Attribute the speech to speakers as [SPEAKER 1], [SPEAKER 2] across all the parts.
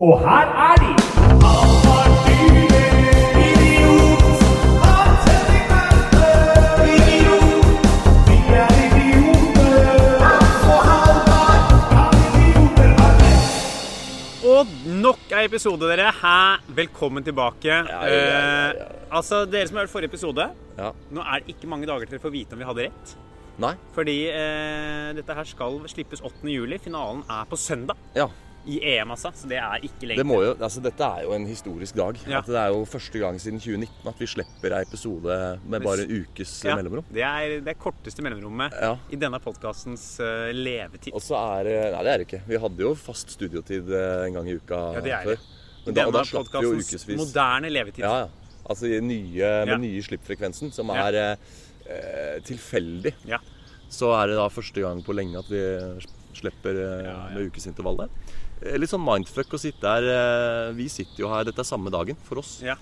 [SPEAKER 1] Og her er de!
[SPEAKER 2] Og nok en episode, dere. Hæ? Velkommen tilbake. Eh, altså, Dere som har hørt forrige episode,
[SPEAKER 3] Ja.
[SPEAKER 2] nå er det ikke mange dager til dere får vite om vi hadde rett.
[SPEAKER 3] Nei.
[SPEAKER 2] Fordi eh, dette her skal slippes 8. juli. Finalen er på søndag
[SPEAKER 3] Ja.
[SPEAKER 2] i EM, altså. Så det er ikke lenge
[SPEAKER 3] Det må jo, altså dette er jo en historisk dag.
[SPEAKER 2] Ja.
[SPEAKER 3] At det er jo første gang siden 2019 at vi slipper ei episode med bare en ukes
[SPEAKER 2] Ja,
[SPEAKER 3] mellomrom.
[SPEAKER 2] Det er det er korteste mellomrommet
[SPEAKER 3] Ja.
[SPEAKER 2] i denne podkastens eh, levetid.
[SPEAKER 3] Og så er det- Nei, det er det ikke. Vi hadde jo fast studiotid eh, en gang i uka
[SPEAKER 2] Ja, det er det.
[SPEAKER 3] før. Men da, og da
[SPEAKER 2] denne
[SPEAKER 3] slapp vi jo
[SPEAKER 2] podcastens
[SPEAKER 3] ukevis.
[SPEAKER 2] moderne levetid.
[SPEAKER 3] Ja, ja. Altså i nye,
[SPEAKER 2] Ja.
[SPEAKER 3] med nye slippfrekvensen, som
[SPEAKER 2] Ja.
[SPEAKER 3] er eh, eh, tilfeldig.
[SPEAKER 2] Ja.
[SPEAKER 3] Så er det da første gang på lenge at vi slipper eh,
[SPEAKER 2] Ja, ja.
[SPEAKER 3] med ukesintervall der. Eh, Litt sånn mindfuck å sitte her. eh, Vi sitter jo her, dette er samme dagen for oss.
[SPEAKER 2] Ja.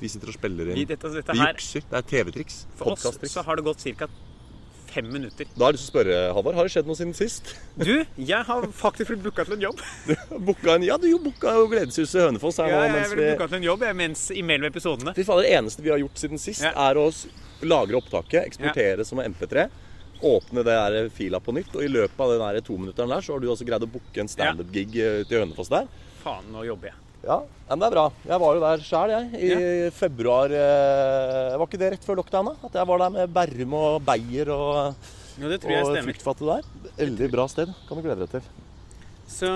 [SPEAKER 3] Vi sitter og spiller
[SPEAKER 2] Vi,
[SPEAKER 3] inn.
[SPEAKER 2] dette, dette
[SPEAKER 3] Vi
[SPEAKER 2] her,
[SPEAKER 3] jukser. Det er TV-triks.
[SPEAKER 2] for oss
[SPEAKER 3] Podkast-triks.
[SPEAKER 2] så har det gått ca. fem minutter.
[SPEAKER 3] Da har jeg lyst til å spørre, Halvard, har det skjedd noe siden sist?
[SPEAKER 2] Du, jeg har faktisk blitt booka til en jobb.
[SPEAKER 3] Booka en, ja, du jo booka jo Gledeshuset Hønefoss her nå
[SPEAKER 2] Ja, jeg
[SPEAKER 3] mens
[SPEAKER 2] ble
[SPEAKER 3] vi
[SPEAKER 2] booka til en jobb jeg, mens, imellom episodene.
[SPEAKER 3] Fy fader, det eneste vi har gjort siden sist,
[SPEAKER 2] Ja.
[SPEAKER 3] er å s- lagre opptaket, eksportere som en MP3, åpne det der fila på nytt, og i løpet av den der tominutteren der, så har du også greid å booke en standup-gig eh, ute i Hønefoss der.
[SPEAKER 2] Faen, nå jobber jeg.
[SPEAKER 3] Ja, men det er bra. Jeg var jo der sjæl, jeg. I februar eh, Var ikke det rett før lockdown, da? At jeg var der med Berrum og Beyer og,
[SPEAKER 2] Jo, det tror jeg
[SPEAKER 3] og
[SPEAKER 2] stemmer.
[SPEAKER 3] fruktfattig der. Veldig bra sted. Kan du glede deg til.
[SPEAKER 2] Så,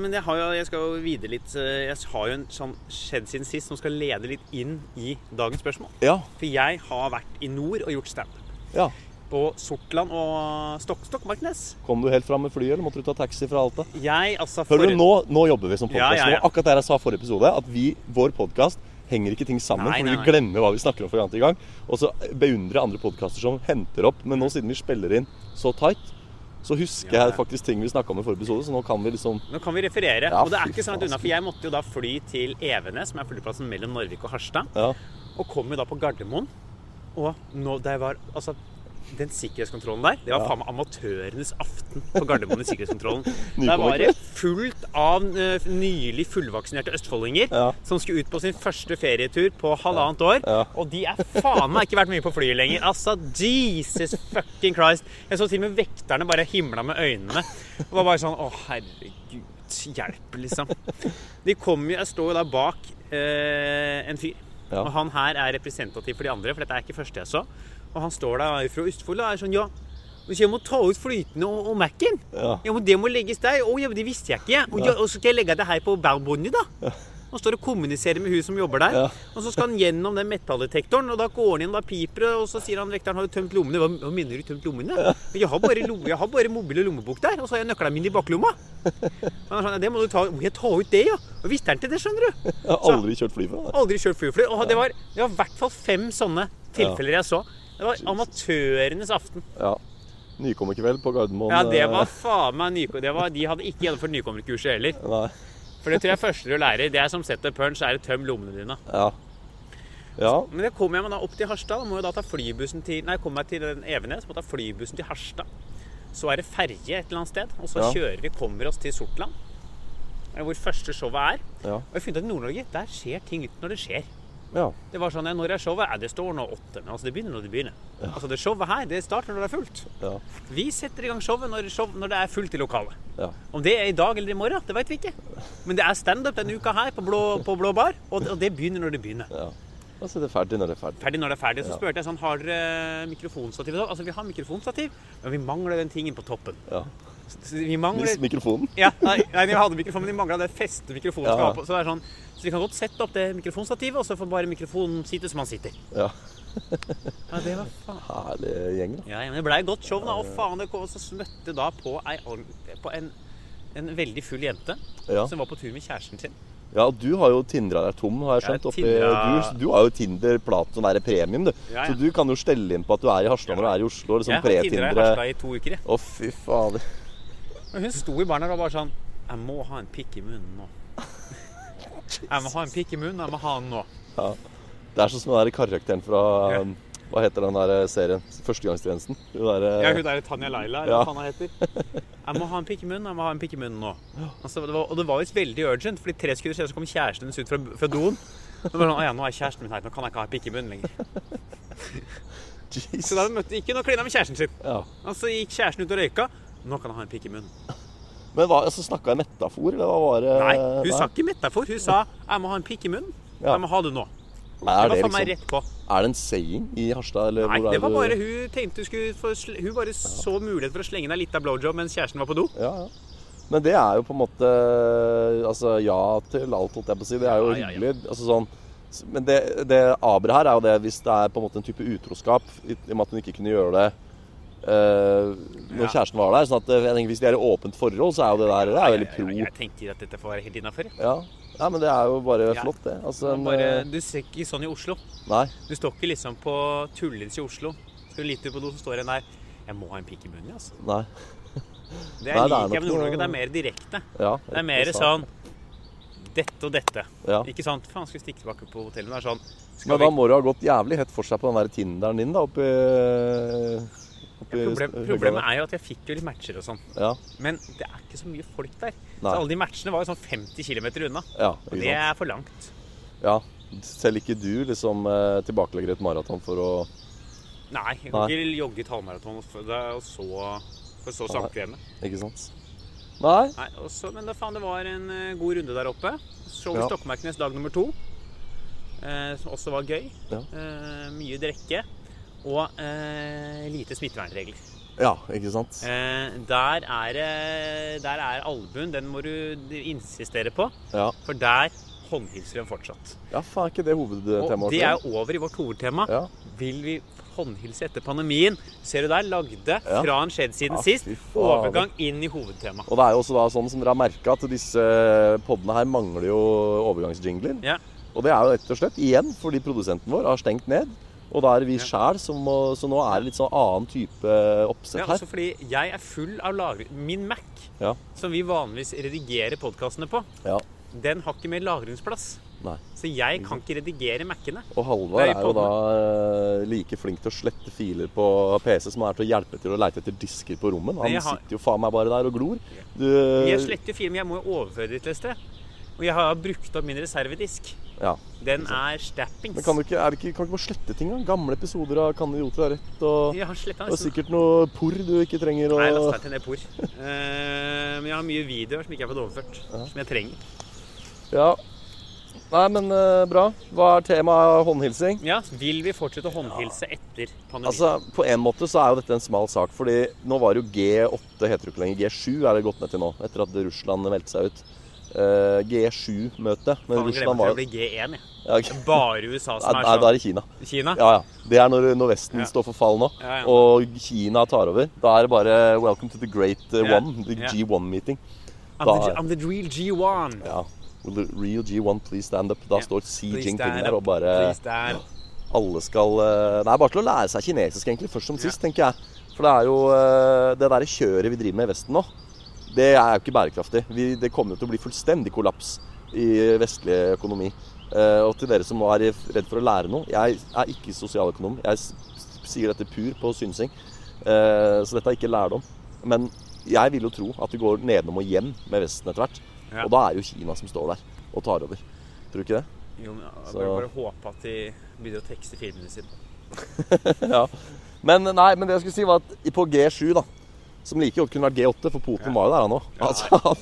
[SPEAKER 2] men jeg, har jo, jeg skal jo videre litt eh, Jeg har jo en sånn skjedd siden sist som skal lede litt inn i dagens spørsmål.
[SPEAKER 3] Ja.
[SPEAKER 2] For jeg har vært i nord og gjort standup.
[SPEAKER 3] ja.
[SPEAKER 2] På Sortland og Stok Stokmarknes.
[SPEAKER 3] Kom du helt fram med flyet, eller måtte du ta taxi fra Alta?
[SPEAKER 2] Jeg, altså
[SPEAKER 3] Hører
[SPEAKER 2] forrige-
[SPEAKER 3] du, nå, nå jobber vi som
[SPEAKER 2] Ja,
[SPEAKER 3] podkast.
[SPEAKER 2] ja, ja.
[SPEAKER 3] Akkurat der jeg sa i forrige episode, at vi, vår podkast henger ikke ting sammen.
[SPEAKER 2] Nei,
[SPEAKER 3] fordi
[SPEAKER 2] nei,
[SPEAKER 3] vi
[SPEAKER 2] nei.
[SPEAKER 3] glemmer hva vi snakker om fra gang til gang. Og så beundrer jeg andre podkaster som henter opp. Men nå siden vi spiller inn så tight, så husker
[SPEAKER 2] Ja, ja.
[SPEAKER 3] jeg faktisk ting vi snakka om i forrige episode. Så nå kan vi liksom
[SPEAKER 2] Nå kan vi referere.
[SPEAKER 3] Ja,
[SPEAKER 2] og det er
[SPEAKER 3] fy
[SPEAKER 2] ikke så langt
[SPEAKER 3] faen,
[SPEAKER 2] unna,
[SPEAKER 3] ass.
[SPEAKER 2] for jeg måtte jo da fly til Evenes, som er flyplassen mellom Narvik og Harstad.
[SPEAKER 3] Ja.
[SPEAKER 2] Og kom jo da på Gardermoen. Og nå der var Altså, den sikkerhetskontrollen der, det var faen meg amatørenes aften på Gardermoen i sikkerhetskontrollen. Der var det fullt av eh, nylig fullvaksinerte østfoldinger
[SPEAKER 3] Ja.
[SPEAKER 2] som skulle ut på sin første ferietur på halvannet år.
[SPEAKER 3] Ja.
[SPEAKER 2] Og de er faen meg ikke vært mye på flyet lenger. Altså, Jesus fucking Christ. Jeg så til og med vekterne bare himla med øynene. Og var bare sånn Å, herregud, hjelp, liksom. De kom jo Jeg står jo da bak eh, en fyr.
[SPEAKER 3] Ja.
[SPEAKER 2] Og han her er representativ for de andre, for dette er ikke første jeg så. Og han står der og er fra Østfold og er sånn Ja, hvis jeg må ta ut flytende og, og Mac-en
[SPEAKER 3] Ja.
[SPEAKER 2] ja, men det må legges der. Å, ja, men det visste jeg ikke. Og, ja, og så skal jeg legge det her på bærbåndet, da. Og står og kommuniserer med hun som jobber der.
[SPEAKER 3] Ja.
[SPEAKER 2] Og så skal han gjennom den metalldetektoren, og da går han inn, og da piper det, og så sier han vekteren har du tømt lommene. Hva, hva mener du tømt lommene? Jeg har bare, lomme, jeg har bare mobil og lommebok der, og så har jeg nøklene mine i baklomma. Men han er sånn, «Ja, det må du ta Må jeg ta ut det, ja? Og visste han ikke det, skjønner du.
[SPEAKER 3] Jeg har
[SPEAKER 2] Så-
[SPEAKER 3] aldri kjørt fly før. da.
[SPEAKER 2] Aldri kjørt flyfly. Og det var det var i hvert fall fem sånne tilfeller jeg så. Det var amatørenes aften.
[SPEAKER 3] Ja. Nykommerkveld på Gardermoen.
[SPEAKER 2] Ja, det var
[SPEAKER 3] eh,
[SPEAKER 2] faen meg nyko... Det var, de hadde ikke gjennomført nykommerkurset heller.
[SPEAKER 3] Nei.
[SPEAKER 2] For det tror jeg første du lærer, det er som setter punch, er å tømme lommene dine.
[SPEAKER 3] Ja. ja.
[SPEAKER 2] Men det kom jeg meg da opp til Harstad. Da må jeg da ta flybussen til Nei, kom meg til den Evenes, må jeg ta flybussen til Harstad. Så er det ferje et eller annet sted, og så
[SPEAKER 3] Ja.
[SPEAKER 2] kjører vi, kommer oss til Sortland. eh, Hvor første showet er.
[SPEAKER 3] Ja.
[SPEAKER 2] Og jeg funnet at i Nord-Norge, der skjer ting ut når det skjer.
[SPEAKER 3] ja.
[SPEAKER 2] Det var sånn, ja, Når er showet? Ja, det står nå åtte, men altså det begynner når det begynner. Altså det showet her, det starter når det er fullt.
[SPEAKER 3] ja.
[SPEAKER 2] Vi setter i gang showet når, show, når det er fullt i lokalet.
[SPEAKER 3] ja.
[SPEAKER 2] Om det er i dag eller i morgen, det vet vi ikke. Men det er standup denne uka her på Blå, på blå bar, og det, og det begynner når det begynner.
[SPEAKER 3] ja. Altså, det er ferdig når det er ferdig.
[SPEAKER 2] Ferdig når det er ferdig. Så
[SPEAKER 3] Ja.
[SPEAKER 2] spurte jeg sånn, har dere mikrofonstativ i dag? Altså, vi har mikrofonstativ, men vi mangler den tingen på toppen.
[SPEAKER 3] Ja.
[SPEAKER 2] Så Vi mangler...
[SPEAKER 3] Mis mikrofonen.
[SPEAKER 2] Ja, nei, nei, vi hadde mikrofon, men de manglet det feste mikrofonen skal
[SPEAKER 3] Ja.
[SPEAKER 2] ha på. Så, det er sånn, så vi kan godt sette opp det mikrofonstativet, og så får bare mikrofonen sitte som han sitter.
[SPEAKER 3] Ja.
[SPEAKER 2] Ja, det var faen.
[SPEAKER 3] Herlig gjeng, da.
[SPEAKER 2] Ja, ja, men det ble et godt show da, og faen, det kom og så møtte da på, ei, ordent- på en, en veldig full jente,
[SPEAKER 3] Ja.
[SPEAKER 2] som var på tur med kjæresten sin.
[SPEAKER 3] Ja, og du har jo Tindra deg tom, har jeg
[SPEAKER 2] Jeg
[SPEAKER 3] skjønt. oppi-
[SPEAKER 2] tindra-
[SPEAKER 3] Du, du har jo Tinder Platon der premium, du.
[SPEAKER 2] Ja, ja.
[SPEAKER 3] Så du kan jo stelle inn på at du er i Harstad når du er i Oslo. og Liksom
[SPEAKER 2] Jeg har tidligere
[SPEAKER 3] pre-Tindre.
[SPEAKER 2] hasla i to uker. jeg.
[SPEAKER 3] Å, fy fader.
[SPEAKER 2] Og hun sto i baren og var bare sånn Jeg må ha en pikk i munnen nå. Jeg må ha en pikk i munnen, jeg må ha den nå.
[SPEAKER 3] Det er sånn som den der karakteren fra
[SPEAKER 2] Ja.
[SPEAKER 3] um, Hva heter den der serien? Førstegangstjenesten. Hun
[SPEAKER 2] Ja,
[SPEAKER 3] der, eh,
[SPEAKER 2] hun der Tanja Laila, eller
[SPEAKER 3] Ja.
[SPEAKER 2] hva faen hun heter. Jeg må ha en pikk i munnen, jeg må ha en pikk i munnen nå. Altså, det var, og det var visst veldig urgent, fordi tre sekunder senere så kom kjæresten hennes ut fra, fra doen. Og bare sånn, «Å ja, nå er kjæresten min her, nå kan jeg ikke ha pikk i munnen lenger. Så da
[SPEAKER 3] Jeez.
[SPEAKER 2] hun møtte ikke, nå klina med kjæresten sin.
[SPEAKER 3] Ja.
[SPEAKER 2] Og så gikk kjæresten ut og røyka. Nå kan jeg ha en pikk i munnen.
[SPEAKER 3] Men hva, altså, snakka jeg metafor, eller hva var det?
[SPEAKER 2] Nei, hun sa ikke metafor. Hun sa 'jeg må ha en pikk i munnen'.
[SPEAKER 3] Eh, Ja.
[SPEAKER 2] 'Jeg må ha det nå'.
[SPEAKER 3] Nei,
[SPEAKER 2] Det var
[SPEAKER 3] er, det
[SPEAKER 2] faen meg
[SPEAKER 3] liksom,
[SPEAKER 2] rett på.
[SPEAKER 3] er det en saying i Harstad? Eller
[SPEAKER 2] Nei,
[SPEAKER 3] hvor er
[SPEAKER 2] det var
[SPEAKER 3] du-
[SPEAKER 2] bare hun tenkte hun skulle få sl- Hun bare så mulighet for å slenge deg litt av blowjob mens kjæresten var på do.
[SPEAKER 3] Ja, ja. Men det er jo på en måte Altså ja til alt, holdt jeg på å si. Det er jo
[SPEAKER 2] Ja, ja, ja.
[SPEAKER 3] hyggelig. Altså sånn men det, det aberet her er jo det hvis det er på en måte en type utroskap, i, i og med at hun ikke kunne gjøre det eh, når
[SPEAKER 2] Ja.
[SPEAKER 3] kjæresten var der. sånn at eh, jeg tenker Hvis de er i åpent forhold, så er jo det der det er jo veldig
[SPEAKER 2] Ja,
[SPEAKER 3] pro.
[SPEAKER 2] ja, ja, Jeg tenker at dette får være helt innafor.
[SPEAKER 3] Ja. ja, men det er jo bare
[SPEAKER 2] Ja.
[SPEAKER 3] flott, det. Altså, en, eh,
[SPEAKER 2] Du ser ikke sånn i Oslo.
[SPEAKER 3] Nei.
[SPEAKER 2] Du står ikke liksom på Tullins i Oslo. Skal du lite på do, så står en der. Jeg må ha en pikk i munnen, altså.
[SPEAKER 3] Nei.
[SPEAKER 2] Det er
[SPEAKER 3] Nei, det er
[SPEAKER 2] liker jeg med
[SPEAKER 3] nok noe-
[SPEAKER 2] Nord-Norge. Det er mer direkte.
[SPEAKER 3] Ja,
[SPEAKER 2] Det er mer sånn dette og dette.
[SPEAKER 3] Ja.
[SPEAKER 2] Ikke sant? Faen, skal vi stikke tilbake på hotellet? Det er sånn skal
[SPEAKER 3] Men da
[SPEAKER 2] vi-
[SPEAKER 3] må du ha gått jævlig hett for seg på den der Tinderen din, da, oppi, eh, oppi
[SPEAKER 2] Problem, Problemet er jo at jeg fikk jo litt matcher og sånn.
[SPEAKER 3] Ja.
[SPEAKER 2] Men det er ikke så mye folk der. Så
[SPEAKER 3] Nei.
[SPEAKER 2] alle de matchene var jo sånn 50 km unna.
[SPEAKER 3] ja ikke
[SPEAKER 2] Og
[SPEAKER 3] sant.
[SPEAKER 2] det er for langt.
[SPEAKER 3] Ja. Selv ikke du liksom eh, tilbakelegger et maraton for å
[SPEAKER 2] Nei, jeg kan ikke jogge et halvmaraton og f- da- og så for så å
[SPEAKER 3] Nei.
[SPEAKER 2] sanke hjemme.
[SPEAKER 3] Ikke sant? Nei.
[SPEAKER 2] Nei, og så- men da faen, det var en eh, god runde der oppe. Så vi
[SPEAKER 3] Ja.
[SPEAKER 2] Stokmarknes dag nummer to, eh, som også var gøy.
[SPEAKER 3] Ja.
[SPEAKER 2] Eh, mye drikke. Og eh, lite smittevernregler.
[SPEAKER 3] Ja, ikke sant?
[SPEAKER 2] Eh, der er, det- der er albuen. Den må du insistere på,
[SPEAKER 3] Ja,
[SPEAKER 2] for der håndhilser de fortsatt.
[SPEAKER 3] ja faen, er ikke det
[SPEAKER 2] Og
[SPEAKER 3] hovedtemaet?
[SPEAKER 2] det
[SPEAKER 3] for
[SPEAKER 2] er
[SPEAKER 3] deg?
[SPEAKER 2] jo over i vårt hovedtema.
[SPEAKER 3] Ja.
[SPEAKER 2] Vil vi håndhilse etter pandemien? Ser du der, lagde
[SPEAKER 3] Ja.
[SPEAKER 2] fra en skjedd siden
[SPEAKER 3] Ja,
[SPEAKER 2] sist.
[SPEAKER 3] fy faen.
[SPEAKER 2] Overgang inn i hovedtema.
[SPEAKER 3] Og det er jo også da sånn som dere har merka, at disse eh, podene her mangler jo overgangsjingler.
[SPEAKER 2] Ja.
[SPEAKER 3] Og det er jo rett og slett igjen fordi produsenten vår har stengt ned. Og da er det vi
[SPEAKER 2] Ja.
[SPEAKER 3] sjæl som må Så nå er det litt sånn annen type eh, oppsett
[SPEAKER 2] Ja, altså-
[SPEAKER 3] her.
[SPEAKER 2] også fordi jeg er full av lagring. Min Mac,
[SPEAKER 3] Ja.
[SPEAKER 2] som vi vanligvis redigerer podkastene på,
[SPEAKER 3] ja.
[SPEAKER 2] den har ikke mer lagringsplass.
[SPEAKER 3] Nei.
[SPEAKER 2] Så jeg kan ikke redigere Mac-ene.
[SPEAKER 3] Og
[SPEAKER 2] Det
[SPEAKER 3] Halvard
[SPEAKER 2] er i
[SPEAKER 3] er jo da eh, like flink til å slette filer på PC som han er til å hjelpe til å leite etter disker på rommet. Han
[SPEAKER 2] Jeg har-
[SPEAKER 3] sitter jo faen meg bare der og glor. Du, Eh.
[SPEAKER 2] Jeg sletter jo film, jeg må jo overføre det til et sted. Og jeg har brukt opp min reservedisk.
[SPEAKER 3] ja.
[SPEAKER 2] Den er stappings.
[SPEAKER 3] Men kan du ikke, er det ikke, kan du ikke bare slette ting? da? Gamle episoder av Kan idioter ha rett? Og,
[SPEAKER 2] Jeg har sletta
[SPEAKER 3] og
[SPEAKER 2] nesten
[SPEAKER 3] sikkert noe porr du ikke trenger å
[SPEAKER 2] Nei, jeg lasta til ned por. Eh, men jeg har mye videoer som ikke er fått overført. Som jeg trenger.
[SPEAKER 3] ja. Nei, men eh, bra. Hva er temaet håndhilsing?
[SPEAKER 2] Ja, Vil vi fortsette å håndhilse etter pandemien?
[SPEAKER 3] Altså, På en måte så er jo dette en smal sak. fordi nå var det jo G8 heter det ikke lenger. G7 er det gått ned til nå, etter at Russland meldte seg ut. Eh, G7-møte. Men
[SPEAKER 2] Faen, jeg
[SPEAKER 3] Russland
[SPEAKER 2] glemmer
[SPEAKER 3] var
[SPEAKER 2] at det blir G1, jeg.
[SPEAKER 3] Ja, ok.
[SPEAKER 2] Bare USA som
[SPEAKER 3] Nei,
[SPEAKER 2] er
[SPEAKER 3] da
[SPEAKER 2] sånn.
[SPEAKER 3] er det Kina.
[SPEAKER 2] Kina?
[SPEAKER 3] Ja, ja. Det er når, når Vesten
[SPEAKER 2] Ja.
[SPEAKER 3] står for fall nå,
[SPEAKER 2] Ja, ja.
[SPEAKER 3] og Kina tar over. Da er det bare 'Welcome to the great eh,
[SPEAKER 2] Ja.
[SPEAKER 3] one', the
[SPEAKER 2] Ja.
[SPEAKER 3] G1-meeting.
[SPEAKER 2] I'm the,
[SPEAKER 3] Da-
[SPEAKER 2] I'm the real G1.
[SPEAKER 3] Ja. Will the real G1 please stand up? Da
[SPEAKER 2] Ja.
[SPEAKER 3] står Xi
[SPEAKER 2] Please
[SPEAKER 3] Jinping
[SPEAKER 2] stand
[SPEAKER 3] der
[SPEAKER 2] up.
[SPEAKER 3] og bare
[SPEAKER 2] Please stand.
[SPEAKER 3] Alle skal eh, Det er bare til å lære seg kinesisk, egentlig, først som sist, tenker jeg. For det er jo eh, det derre kjøret vi driver med i Vesten nå, det er jo ikke bærekraftig. Vi, det kommer jo til å bli fullstendig kollaps i vestlig økonomi. Eh, og til dere som nå er redd for å lære noe Jeg er ikke sosialøkonom. Jeg s- s- sier dette pur på synsing. Eh, så dette er ikke lærdom. Men jeg vil jo tro at vi går nedenom og hjem med Vesten etter hvert.
[SPEAKER 2] Ja.
[SPEAKER 3] Og da er det jo Kina som står der og tar over. Tror du ikke det?
[SPEAKER 2] Jo, men jeg
[SPEAKER 3] Så-
[SPEAKER 2] bare, bare håpe at de begynner å tekste filmene sine.
[SPEAKER 3] ja. Men nei, men det jeg skulle si var at i- på G7 da, som like godt kunne vært G8, for Putin var jo der han òg.
[SPEAKER 2] Ja.
[SPEAKER 3] Altså, han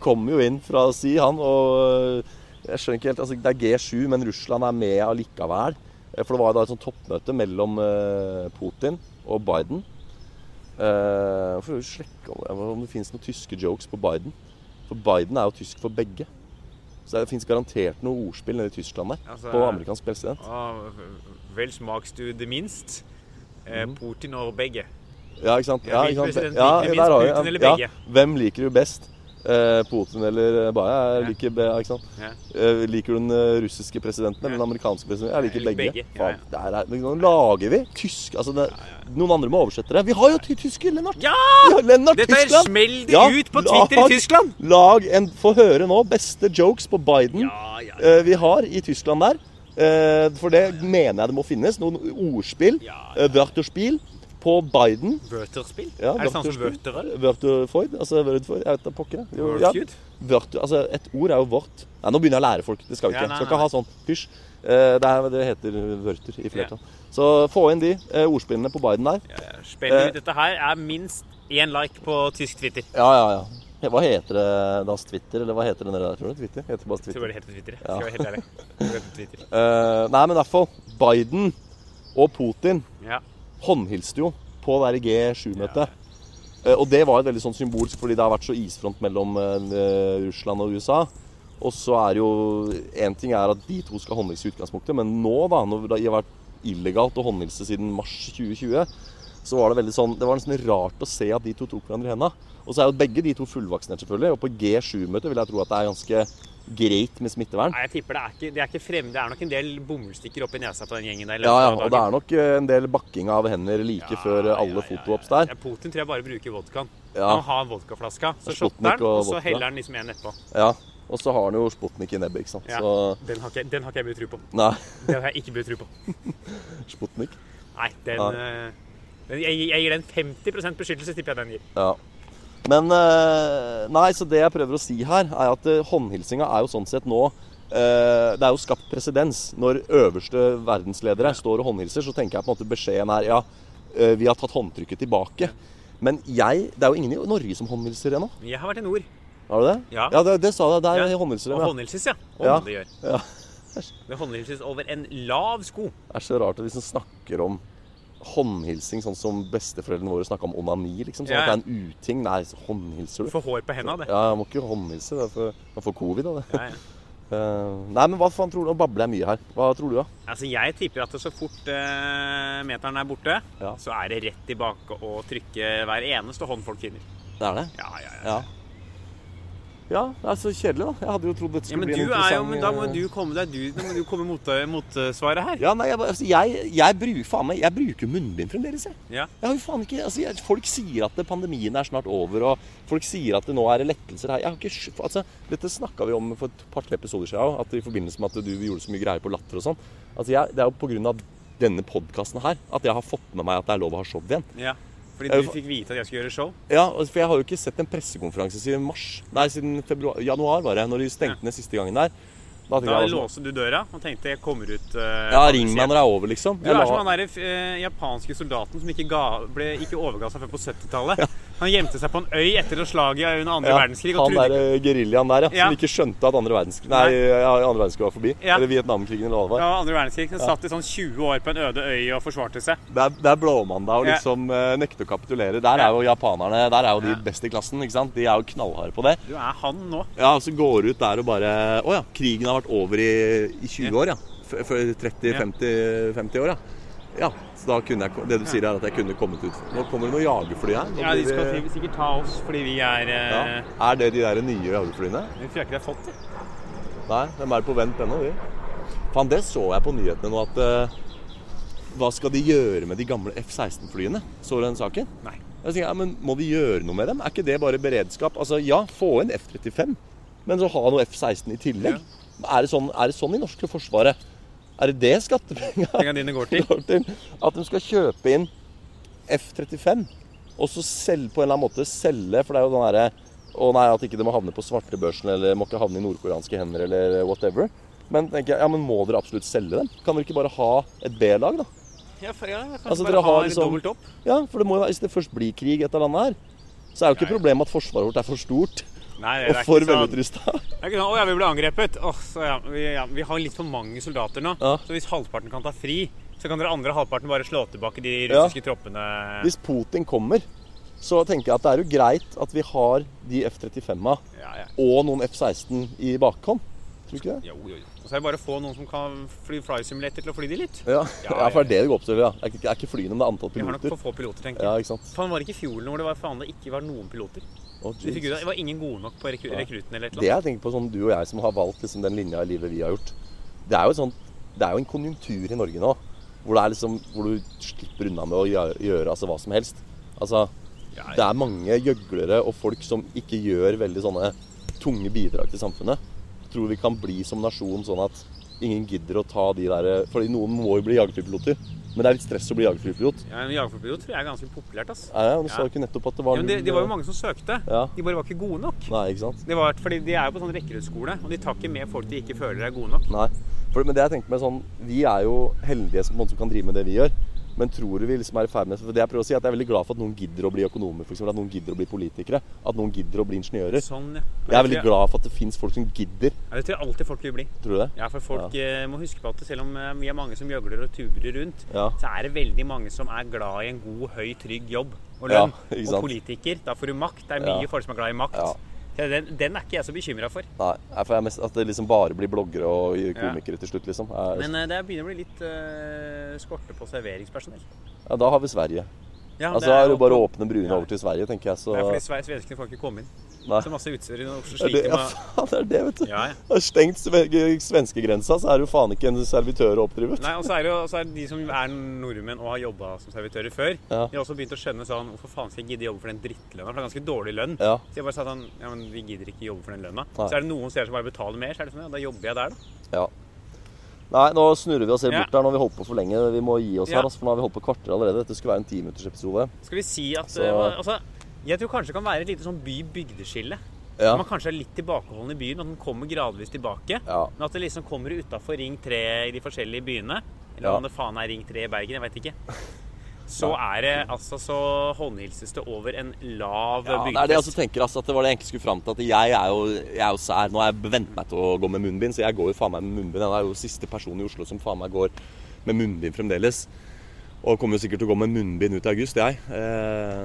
[SPEAKER 3] kom jo inn fra si, han, og øh, jeg skjønner ikke helt, altså det er G7, men Russland er med allikevel. Eh, For det var jo da et sånt toppmøte mellom eh, Putin og Biden. Uh, for å sjekke om, om det finnes noen tyske jokes på Biden. For Biden er jo tysk for begge. Så det fins garantert noe ordspill nede i Tyskland der.
[SPEAKER 2] Altså,
[SPEAKER 3] på amerikansk president.
[SPEAKER 2] Ah, vel smaks du det minst. Eh,
[SPEAKER 3] Mhm.
[SPEAKER 2] Putin og begge.
[SPEAKER 3] Ja, ikke sant?
[SPEAKER 2] Ja,
[SPEAKER 3] Ja,
[SPEAKER 2] hvilken
[SPEAKER 3] ikke sant?
[SPEAKER 2] president
[SPEAKER 3] Ja,
[SPEAKER 2] liker du
[SPEAKER 3] der
[SPEAKER 2] minst,
[SPEAKER 3] har vi-
[SPEAKER 2] Putin eller
[SPEAKER 3] Ja,
[SPEAKER 2] begge?
[SPEAKER 3] hvem liker du best? Eh, Putin eller Baja? Jeg
[SPEAKER 2] Ja.
[SPEAKER 3] liker, be- ja, ikke sant?
[SPEAKER 2] Ja.
[SPEAKER 3] Eh, liker du den eh, russiske presidenten
[SPEAKER 2] Ja.
[SPEAKER 3] eller den amerikanske presidenten? Jeg liker
[SPEAKER 2] Jeg liker
[SPEAKER 3] begge.
[SPEAKER 2] begge. Ja,
[SPEAKER 3] Faen, der er, men nå lager vi tysk altså det, Noen andre må oversette det. Vi har jo ty- tyske, Lennart!
[SPEAKER 2] Ja!
[SPEAKER 3] Vi har Lennart
[SPEAKER 2] Dette
[SPEAKER 3] Tyskland!
[SPEAKER 2] smell det
[SPEAKER 3] Ja,
[SPEAKER 2] ut på Twitter
[SPEAKER 3] lag-
[SPEAKER 2] i Tyskland!
[SPEAKER 3] Lag en Få høre nå. Beste jokes på Biden
[SPEAKER 2] Ja, ja, ja.
[SPEAKER 3] eh, vi har i Tyskland der. Eh, For det mener jeg det må finnes. Noen ordspill.
[SPEAKER 2] Ja, ja.
[SPEAKER 3] eh, Wörterspiel på Biden.
[SPEAKER 2] Wörterspill?
[SPEAKER 3] Ja,
[SPEAKER 2] er det samme som
[SPEAKER 3] Wörterspill.
[SPEAKER 2] Wörterøl?
[SPEAKER 3] Wörterford? Altså Wörterford? Jeg vet da pokker. jeg. Jo, ja.
[SPEAKER 2] Wörterfjord?
[SPEAKER 3] Wörter, altså et ord er jo vort. Nei, nå begynner jeg å lære folk. Det skal vi
[SPEAKER 2] Ja,
[SPEAKER 3] ikke.
[SPEAKER 2] nei,
[SPEAKER 3] skal ikke
[SPEAKER 2] nei.
[SPEAKER 3] ha sånn pysj. Eh, Det, er, det heter vørter i flertall. Så få inn de eh, ordspillene på Biden der.
[SPEAKER 2] Eh, Spill ut. Dette her er minst én like på tysk Twitter. Jeg
[SPEAKER 3] Ja, ja, ja. Hva heter det das Twitter, eller hva heter den der? Tror du Twitter? Heter bare
[SPEAKER 2] tror
[SPEAKER 3] Twitter.
[SPEAKER 2] bare det heter Twitter. jeg. Skal jeg være helt ærlig. Det heter Twitter.
[SPEAKER 3] Eh, nei, men i hvert fall. Biden og Putin
[SPEAKER 2] Ja.
[SPEAKER 3] håndhilste jo på det der G7-møtet. Eh, Og det var jo veldig sånn symbolsk, fordi det har vært så isfront mellom eh, Russland og USA. Og så er det jo Én ting er at de to skal håndhilse i utgangspunktet, men nå, da, når det har vært illegalt å håndhilse siden mars 2020, så var det veldig sånn Det var nesten rart å se at de to tok hverandre i henda. Og så er jo begge de to fullvaksinert, selvfølgelig. Og på G7-møtet vil jeg tro at det er ganske greit med smittevern.
[SPEAKER 2] Nei, jeg tipper det er ikke, det er ikke fremme. Det er nok en del bomullstykker oppi nesa på den gjengen der. i
[SPEAKER 3] Ja,
[SPEAKER 2] løpet
[SPEAKER 3] ja.
[SPEAKER 2] av
[SPEAKER 3] Og det
[SPEAKER 2] dagen.
[SPEAKER 3] er nok eh, en del bakking av hender like før eh, alle
[SPEAKER 2] ja, ja,
[SPEAKER 3] fotoops der.
[SPEAKER 2] Ja, Putin tror jeg bare bruker vodkaen.
[SPEAKER 3] Ja.
[SPEAKER 2] Han har vodkaflaska, så
[SPEAKER 3] Sputnik
[SPEAKER 2] shotter han,
[SPEAKER 3] og
[SPEAKER 2] og så
[SPEAKER 3] vodka.
[SPEAKER 2] heller han liksom en nedpå.
[SPEAKER 3] Ja, og så har han jo Sputnik i nebbet, ikke sant?
[SPEAKER 2] Ja.
[SPEAKER 3] Så,
[SPEAKER 2] Den, har ikke, den har ikke jeg blitt tro på.
[SPEAKER 3] nei,
[SPEAKER 2] Den har jeg ikke blitt tro på.
[SPEAKER 3] Sputnik.
[SPEAKER 2] Nei, den,
[SPEAKER 3] Ja.
[SPEAKER 2] eh, den jeg, jeg gir den 50 beskyttelse, tipper jeg den gir.
[SPEAKER 3] Ja. Men eh, nei, så det jeg prøver å si her, er at eh, håndhilsinga er jo sånn sett nå eh, Det er jo skapt presedens. Når øverste verdensledere står og håndhilser, så tenker jeg på en måte beskjeden er ja, eh, vi har tatt håndtrykket tilbake. Men jeg Det er jo ingen i Norge som håndhilser ennå.
[SPEAKER 2] Men Jeg har vært i nord.
[SPEAKER 3] Har du det?
[SPEAKER 2] Ja.
[SPEAKER 3] det, det sa jeg. Der
[SPEAKER 2] Ja.
[SPEAKER 3] håndhilser
[SPEAKER 2] Og
[SPEAKER 3] de. ja.
[SPEAKER 2] håndhilses, ja. Å,
[SPEAKER 3] Ja.
[SPEAKER 2] det gjør.
[SPEAKER 3] Ja.
[SPEAKER 2] Det håndhilses over en lav sko.
[SPEAKER 3] Det er så rart at vi som snakker om håndhilsing sånn som besteforeldrene våre snakka om onani. liksom, sånn
[SPEAKER 2] Ja, ja.
[SPEAKER 3] at Det er en uting. Nei, så håndhilser
[SPEAKER 2] Du
[SPEAKER 3] du?
[SPEAKER 2] får hår på henda, det.
[SPEAKER 3] Ja, jeg må ikke håndhilse. det er for- Man får covid av det.
[SPEAKER 2] Ja, ja.
[SPEAKER 3] Eh, nei, men hva faen tror du? Nå babler jeg mye her. Hva tror du, da?
[SPEAKER 2] Altså, jeg tipper at så fort eh, meteren er borte,
[SPEAKER 3] Ja.
[SPEAKER 2] så er det rett tilbake og trykke hver eneste hånd folk finner.
[SPEAKER 3] Det er det?
[SPEAKER 2] Ja, ja, ja.
[SPEAKER 3] Ja. Ja, det er så kjedelig, da. Jeg hadde jo trodd dette
[SPEAKER 2] Ja,
[SPEAKER 3] skulle
[SPEAKER 2] men,
[SPEAKER 3] bli en
[SPEAKER 2] du er jo,
[SPEAKER 3] interessant
[SPEAKER 2] men da må
[SPEAKER 3] eh,
[SPEAKER 2] du komme deg du, da må du komme mot, motsvaret her.
[SPEAKER 3] Ja, nei, jeg, bare- altså, jeg, jeg bruker faen meg, jeg bruker munnbind fremdeles, jeg.
[SPEAKER 2] Ja.
[SPEAKER 3] Jeg har jo faen ikke, altså, jeg, Folk sier at det- pandemien er snart over, og folk sier at det nå er lettelser her. Jeg har ikke, skj- altså, Dette snakka vi om for et par-tre episoder siden også, at i forbindelse med at du gjorde så mye greier på latter og sånn. Altså, jeg, Det er jo pga. denne podkasten her at jeg har fått med meg at det er lov å ha show igjen.
[SPEAKER 2] Ja. Fordi
[SPEAKER 3] Jeg-
[SPEAKER 2] du fikk vite at jeg skulle gjøre show.
[SPEAKER 3] Ja, og- for jeg har jo ikke sett en pressekonferanse siden mars. Nei, siden februar, januar, var det. Når de stengte ned siste gangen der. Da tenkte
[SPEAKER 2] Da
[SPEAKER 3] jeg, altså,
[SPEAKER 2] låste du døra og tenkte jeg kommer ut eh,
[SPEAKER 3] ja, ring meg når det er over, liksom.
[SPEAKER 2] Du
[SPEAKER 3] Jeg
[SPEAKER 2] er
[SPEAKER 3] la-
[SPEAKER 2] som han der eh, japanske soldaten som ikke, ga, ble, ikke overga seg før på 70-tallet. Han gjemte seg på en øy etter å slaget under andre
[SPEAKER 3] Ja,
[SPEAKER 2] verdenskrig. Og
[SPEAKER 3] Han
[SPEAKER 2] trodde ikke-
[SPEAKER 3] der eh, geriljaen der, ja,
[SPEAKER 2] Ja.
[SPEAKER 3] Som ikke skjønte at andre verdenskrig Nei, ja, andre verdenskrig var forbi.
[SPEAKER 2] Ja.
[SPEAKER 3] Eller Vietnamkrigen eller hva det var.
[SPEAKER 2] ja, andre verdenskrig. Han satt i sånn 20 år på en øde øy og forsvarte seg.
[SPEAKER 3] Der, der blåmer man deg og
[SPEAKER 2] Ja.
[SPEAKER 3] liksom eh, nekter å kapitulere. Der
[SPEAKER 2] Ja.
[SPEAKER 3] er jo japanerne Der er jo de
[SPEAKER 2] Ja.
[SPEAKER 3] best i klassen. ikke sant? De er jo knallharde på det.
[SPEAKER 2] Du er han nå.
[SPEAKER 3] Ja, og Så går du ut der og bare Å ja, krigen har vært over i, i 20 år, ja. F- Før 30-50 år, ja. Ja, så da kunne jeg, ko- Det du sier, er at jeg kunne kommet ut. Nå kommer det noen jagerfly her. Nå
[SPEAKER 2] Ja, De
[SPEAKER 3] blir
[SPEAKER 2] skal
[SPEAKER 3] det-
[SPEAKER 2] si- sikkert ta oss fordi vi er eh,
[SPEAKER 3] ja. Er det de der nye jagerflyene?
[SPEAKER 2] Vi tror jeg ikke de har fått det.
[SPEAKER 3] Nei, de er på vent ennå, de. Faen, det så jeg på nyhetene nå, at eh, Hva skal de gjøre med de gamle F-16-flyene? Så du den saken?
[SPEAKER 2] Nei.
[SPEAKER 3] Jeg tenker, ja, men Må de gjøre noe med dem? Er ikke det bare beredskap? Altså, ja, få inn F-35, men så ha noe F-16 i tillegg. Er, det sånn, er det sånn i norske forsvaret? Er det det skattepenga
[SPEAKER 2] Pengene dine går til.
[SPEAKER 3] går til? At de skal kjøpe inn F-35, og så selge på en eller annen måte selge, for det er jo den derre Å nei, at ikke det må havne på svartebørsen, eller må ikke havne i nordkoreanske hender, eller whatever. Men tenker jeg, ja, men må dere absolutt selge dem? Kan dere ikke bare ha et B-lag, da?
[SPEAKER 2] Ja, for, ja, kanskje
[SPEAKER 3] Altså,
[SPEAKER 2] bare
[SPEAKER 3] dere har
[SPEAKER 2] har
[SPEAKER 3] liksom-
[SPEAKER 2] dobbelt opp.
[SPEAKER 3] Ja, for det må jo være, hvis det først blir krig et eller annet her, så er jo ikke
[SPEAKER 2] Ja, ja.
[SPEAKER 3] problemet at forsvaret vårt er for stort
[SPEAKER 2] Nei, det
[SPEAKER 3] og
[SPEAKER 2] er
[SPEAKER 3] for
[SPEAKER 2] ikke sånn.
[SPEAKER 3] velutrusta.
[SPEAKER 2] Det er ikke sånn, Å ja, vi ble angrepet. Åh, så ja, vi, ja, vi har litt for mange soldater nå.
[SPEAKER 3] Ja.
[SPEAKER 2] Så hvis halvparten kan ta fri, så kan dere andre halvparten bare slå tilbake de
[SPEAKER 3] Ja.
[SPEAKER 2] russiske troppene.
[SPEAKER 3] Hvis Putin kommer, så tenker jeg at det er jo greit at vi har de F-35-a
[SPEAKER 2] Ja, ja.
[SPEAKER 3] og noen F-16 i bakhånd. Tror du ikke det?
[SPEAKER 2] Jo, jo, jo. Og så er det bare å få noen som kan fly fly simulator til å fly de litt.
[SPEAKER 3] Ja,
[SPEAKER 2] Ja,
[SPEAKER 3] ja for det er det det går opp til. Ja. Er ikke- er ikke flyene, men det er antall
[SPEAKER 2] Vi har nok
[SPEAKER 3] piloter.
[SPEAKER 2] for få piloter, tenker
[SPEAKER 3] Ja,
[SPEAKER 2] jeg.
[SPEAKER 3] ikke sant.
[SPEAKER 2] Faen, var det ikke i fjor hvor det var faen det ikke var noen piloter?
[SPEAKER 3] Å,
[SPEAKER 2] De figurer-
[SPEAKER 3] Jesus.
[SPEAKER 2] det var ingen gode nok på rekru
[SPEAKER 3] Nei.
[SPEAKER 2] rekruten eller et
[SPEAKER 3] Det
[SPEAKER 2] eller annet.
[SPEAKER 3] jeg tenker på, sånn du og jeg som har valgt liksom, den linja i livet vi har gjort Det er jo, et sånt, det er jo en konjunktur i Norge nå hvor, det er liksom, hvor du slipper unna med å gjøre, gjøre altså, hva som helst. Altså,
[SPEAKER 2] Ja,
[SPEAKER 3] det er mange gjøglere og folk som ikke gjør veldig sånne tunge bidrag til samfunnet. Jeg tror vi kan bli som nasjon sånn at ingen gidder å ta de der Fordi noen må jo bli jagerflypiloter. Men det er litt stress å bli jagerflypilot.
[SPEAKER 2] Ja, men Jagerflypilot tror jeg er ganske populært. ass.
[SPEAKER 3] Ja, ja, du
[SPEAKER 2] Ja.
[SPEAKER 3] sa jo ikke nettopp at det
[SPEAKER 2] Ja,
[SPEAKER 3] var
[SPEAKER 2] men det, det var jo
[SPEAKER 3] null,
[SPEAKER 2] mange som søkte.
[SPEAKER 3] Ja.
[SPEAKER 2] De bare var ikke gode nok.
[SPEAKER 3] Nei, ikke sant.
[SPEAKER 2] Det var, fordi De er jo på sånn rekruttskole, og de tar ikke med folk de ikke føler er gode nok.
[SPEAKER 3] Nei. For, men det jeg tenker med sånn Vi er jo heldige som, på en måte, som kan drive med det vi gjør. Men tror du vi liksom er i ferd med For det jeg prøver å si, er at jeg er veldig glad for at noen gidder å bli økonomer, for eksempel, At noen gidder å bli politikere. At noen gidder å bli ingeniører.
[SPEAKER 2] Sånn, ja.
[SPEAKER 3] Jeg er veldig glad for at det fins folk som gidder.
[SPEAKER 2] Ja, det tror jeg alltid folk vil bli.
[SPEAKER 3] Tror du det?
[SPEAKER 2] Ja, for folk eh, må huske på at selv om eh, vi er mange som gjøgler og tugler rundt,
[SPEAKER 3] Ja.
[SPEAKER 2] så er det veldig mange som er glad i en god, høy, trygg jobb og
[SPEAKER 3] Ja,
[SPEAKER 2] lønn.
[SPEAKER 3] ikke
[SPEAKER 2] og
[SPEAKER 3] sant?
[SPEAKER 2] politiker, da får du makt. Det er
[SPEAKER 3] Ja.
[SPEAKER 2] mye folk som er glad i makt.
[SPEAKER 3] Ja.
[SPEAKER 2] Så Den, den er ikke jeg så bekymra for.
[SPEAKER 3] Nei, nei, for jeg er mest, At det liksom bare blir bloggere og komikere til slutt, liksom. Er,
[SPEAKER 2] Men eh, det begynner å bli litt eh, skorte på serveringspersonell.
[SPEAKER 3] ja, da har vi Sverige.
[SPEAKER 2] Ja,
[SPEAKER 3] Altså, da er det jo bare å
[SPEAKER 2] åpen-
[SPEAKER 3] åpne bruene
[SPEAKER 2] Ja.
[SPEAKER 3] over til Sverige, tenker jeg. Så
[SPEAKER 2] Det er fordi sve- svenskene får ikke komme inn.
[SPEAKER 3] Nei.
[SPEAKER 2] Så masse utstyr i Oslo
[SPEAKER 3] Det er det,
[SPEAKER 2] sliter
[SPEAKER 3] ja,
[SPEAKER 2] med
[SPEAKER 3] faen, det er det, vet du.
[SPEAKER 2] Ja, ja.
[SPEAKER 3] Det er stengt sve- svenskegrensa, så er det jo faen ikke en servitør å oppdrive.
[SPEAKER 2] Nei, og så er det jo og så er det de som er nordmenn og har jobba som servitører før.
[SPEAKER 3] Ja.
[SPEAKER 2] De har også begynt å skjønne sånn Hvorfor faen skal jeg gidde jobbe for den drittlønna? For det er ganske dårlig lønn.
[SPEAKER 3] Ja.
[SPEAKER 2] Så jeg bare sa sånn Ja, men vi gidder ikke jobbe for den lønna.
[SPEAKER 3] Nei.
[SPEAKER 2] Så er det noen steder som bare betaler mer, så er det sånn Ja, da jobber jeg der, da.
[SPEAKER 3] Ja. Nei, nå snurrer vi oss helt
[SPEAKER 2] Ja.
[SPEAKER 3] bort her. Nå har vi holdt på for lenge. Vi må gi oss
[SPEAKER 2] Ja.
[SPEAKER 3] her, altså, for nå har vi holdt på kvarter allerede. Dette skulle være en timinuttersepisode.
[SPEAKER 2] Skal vi si at
[SPEAKER 3] Så-
[SPEAKER 2] eh, Altså, jeg tror kanskje det kan være et lite sånn by-bygdeskille.
[SPEAKER 3] Ja.
[SPEAKER 2] Man kanskje er litt tilbakeholden i byen, men at den kommer gradvis tilbake.
[SPEAKER 3] Ja.
[SPEAKER 2] Men at det liksom kommer utafor Ring 3 i de forskjellige byene. Eller
[SPEAKER 3] Ja.
[SPEAKER 2] om det faen er Ring 3 i Bergen, jeg veit ikke. Så er det altså så håndhilses det over en lav
[SPEAKER 3] Ja, det er det jeg også tenker, altså, at det var det jeg egentlig skulle fram til. At jeg er jo, jeg er jo sær. Nå har jeg vent meg til å gå med munnbind, så jeg går jo faen meg med munnbind. Jeg er jo siste person i Oslo som faen meg går med munnbind fremdeles. Og kommer jo sikkert til å gå med munnbind ut i august, jeg. Eh,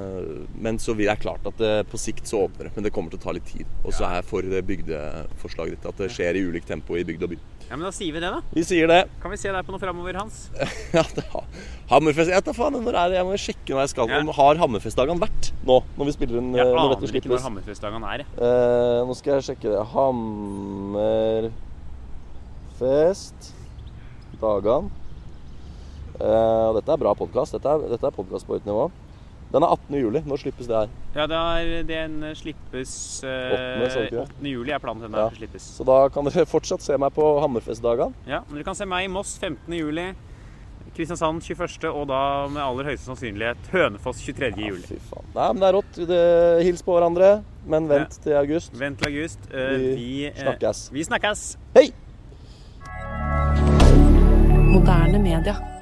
[SPEAKER 3] Men så vil jeg klart at det, på sikt så åpner det. Men det kommer til å ta litt tid. Og så er jeg for det bygdeforslaget ditt. At det skjer i ulikt tempo i bygd og by.
[SPEAKER 2] Ja, men da sier vi det, da.
[SPEAKER 3] Vi sier det.
[SPEAKER 2] Kan vi se deg på noe framover, Hans?
[SPEAKER 3] Ja, det har Hammerfest Jeg vet da faen når er det Jeg må sjekke når jeg skal.
[SPEAKER 2] Ja.
[SPEAKER 3] Om Har Hammerfestdagene vært nå? Når vi spiller inn
[SPEAKER 2] Jeg
[SPEAKER 3] eh, når
[SPEAKER 2] aner
[SPEAKER 3] dette
[SPEAKER 2] ikke når
[SPEAKER 3] slippes?
[SPEAKER 2] Hammerfestdagene er. jeg.
[SPEAKER 3] Eh, nå skal jeg sjekke det. Hammerfest Dagan. Eh, og dette er bra podkast. Dette er, dette er podkast på høyt nivå. Den er 18. juli. Når slippes det her?
[SPEAKER 2] Ja, det er, den slippes
[SPEAKER 3] Åttende, sa
[SPEAKER 2] eh,
[SPEAKER 3] du ikke det?
[SPEAKER 2] 8. juli er planen til den
[SPEAKER 3] Ja.
[SPEAKER 2] skal slippes.
[SPEAKER 3] Så da kan dere fortsatt se meg på Hammerfestdagan.
[SPEAKER 2] Ja, men dere kan se meg i Moss 15. juli. Kristiansand 21., og da med aller høyeste sannsynlighet Hønefoss 23. juli.
[SPEAKER 3] Fy faen. Nei, men det er rått. Det, hils på hverandre. Men vent til august.
[SPEAKER 2] Vent til august. Eh,
[SPEAKER 3] Vi
[SPEAKER 2] vi eh,
[SPEAKER 3] snakkes.
[SPEAKER 2] Vi snakkes.
[SPEAKER 3] Hei!
[SPEAKER 1] Moderne media.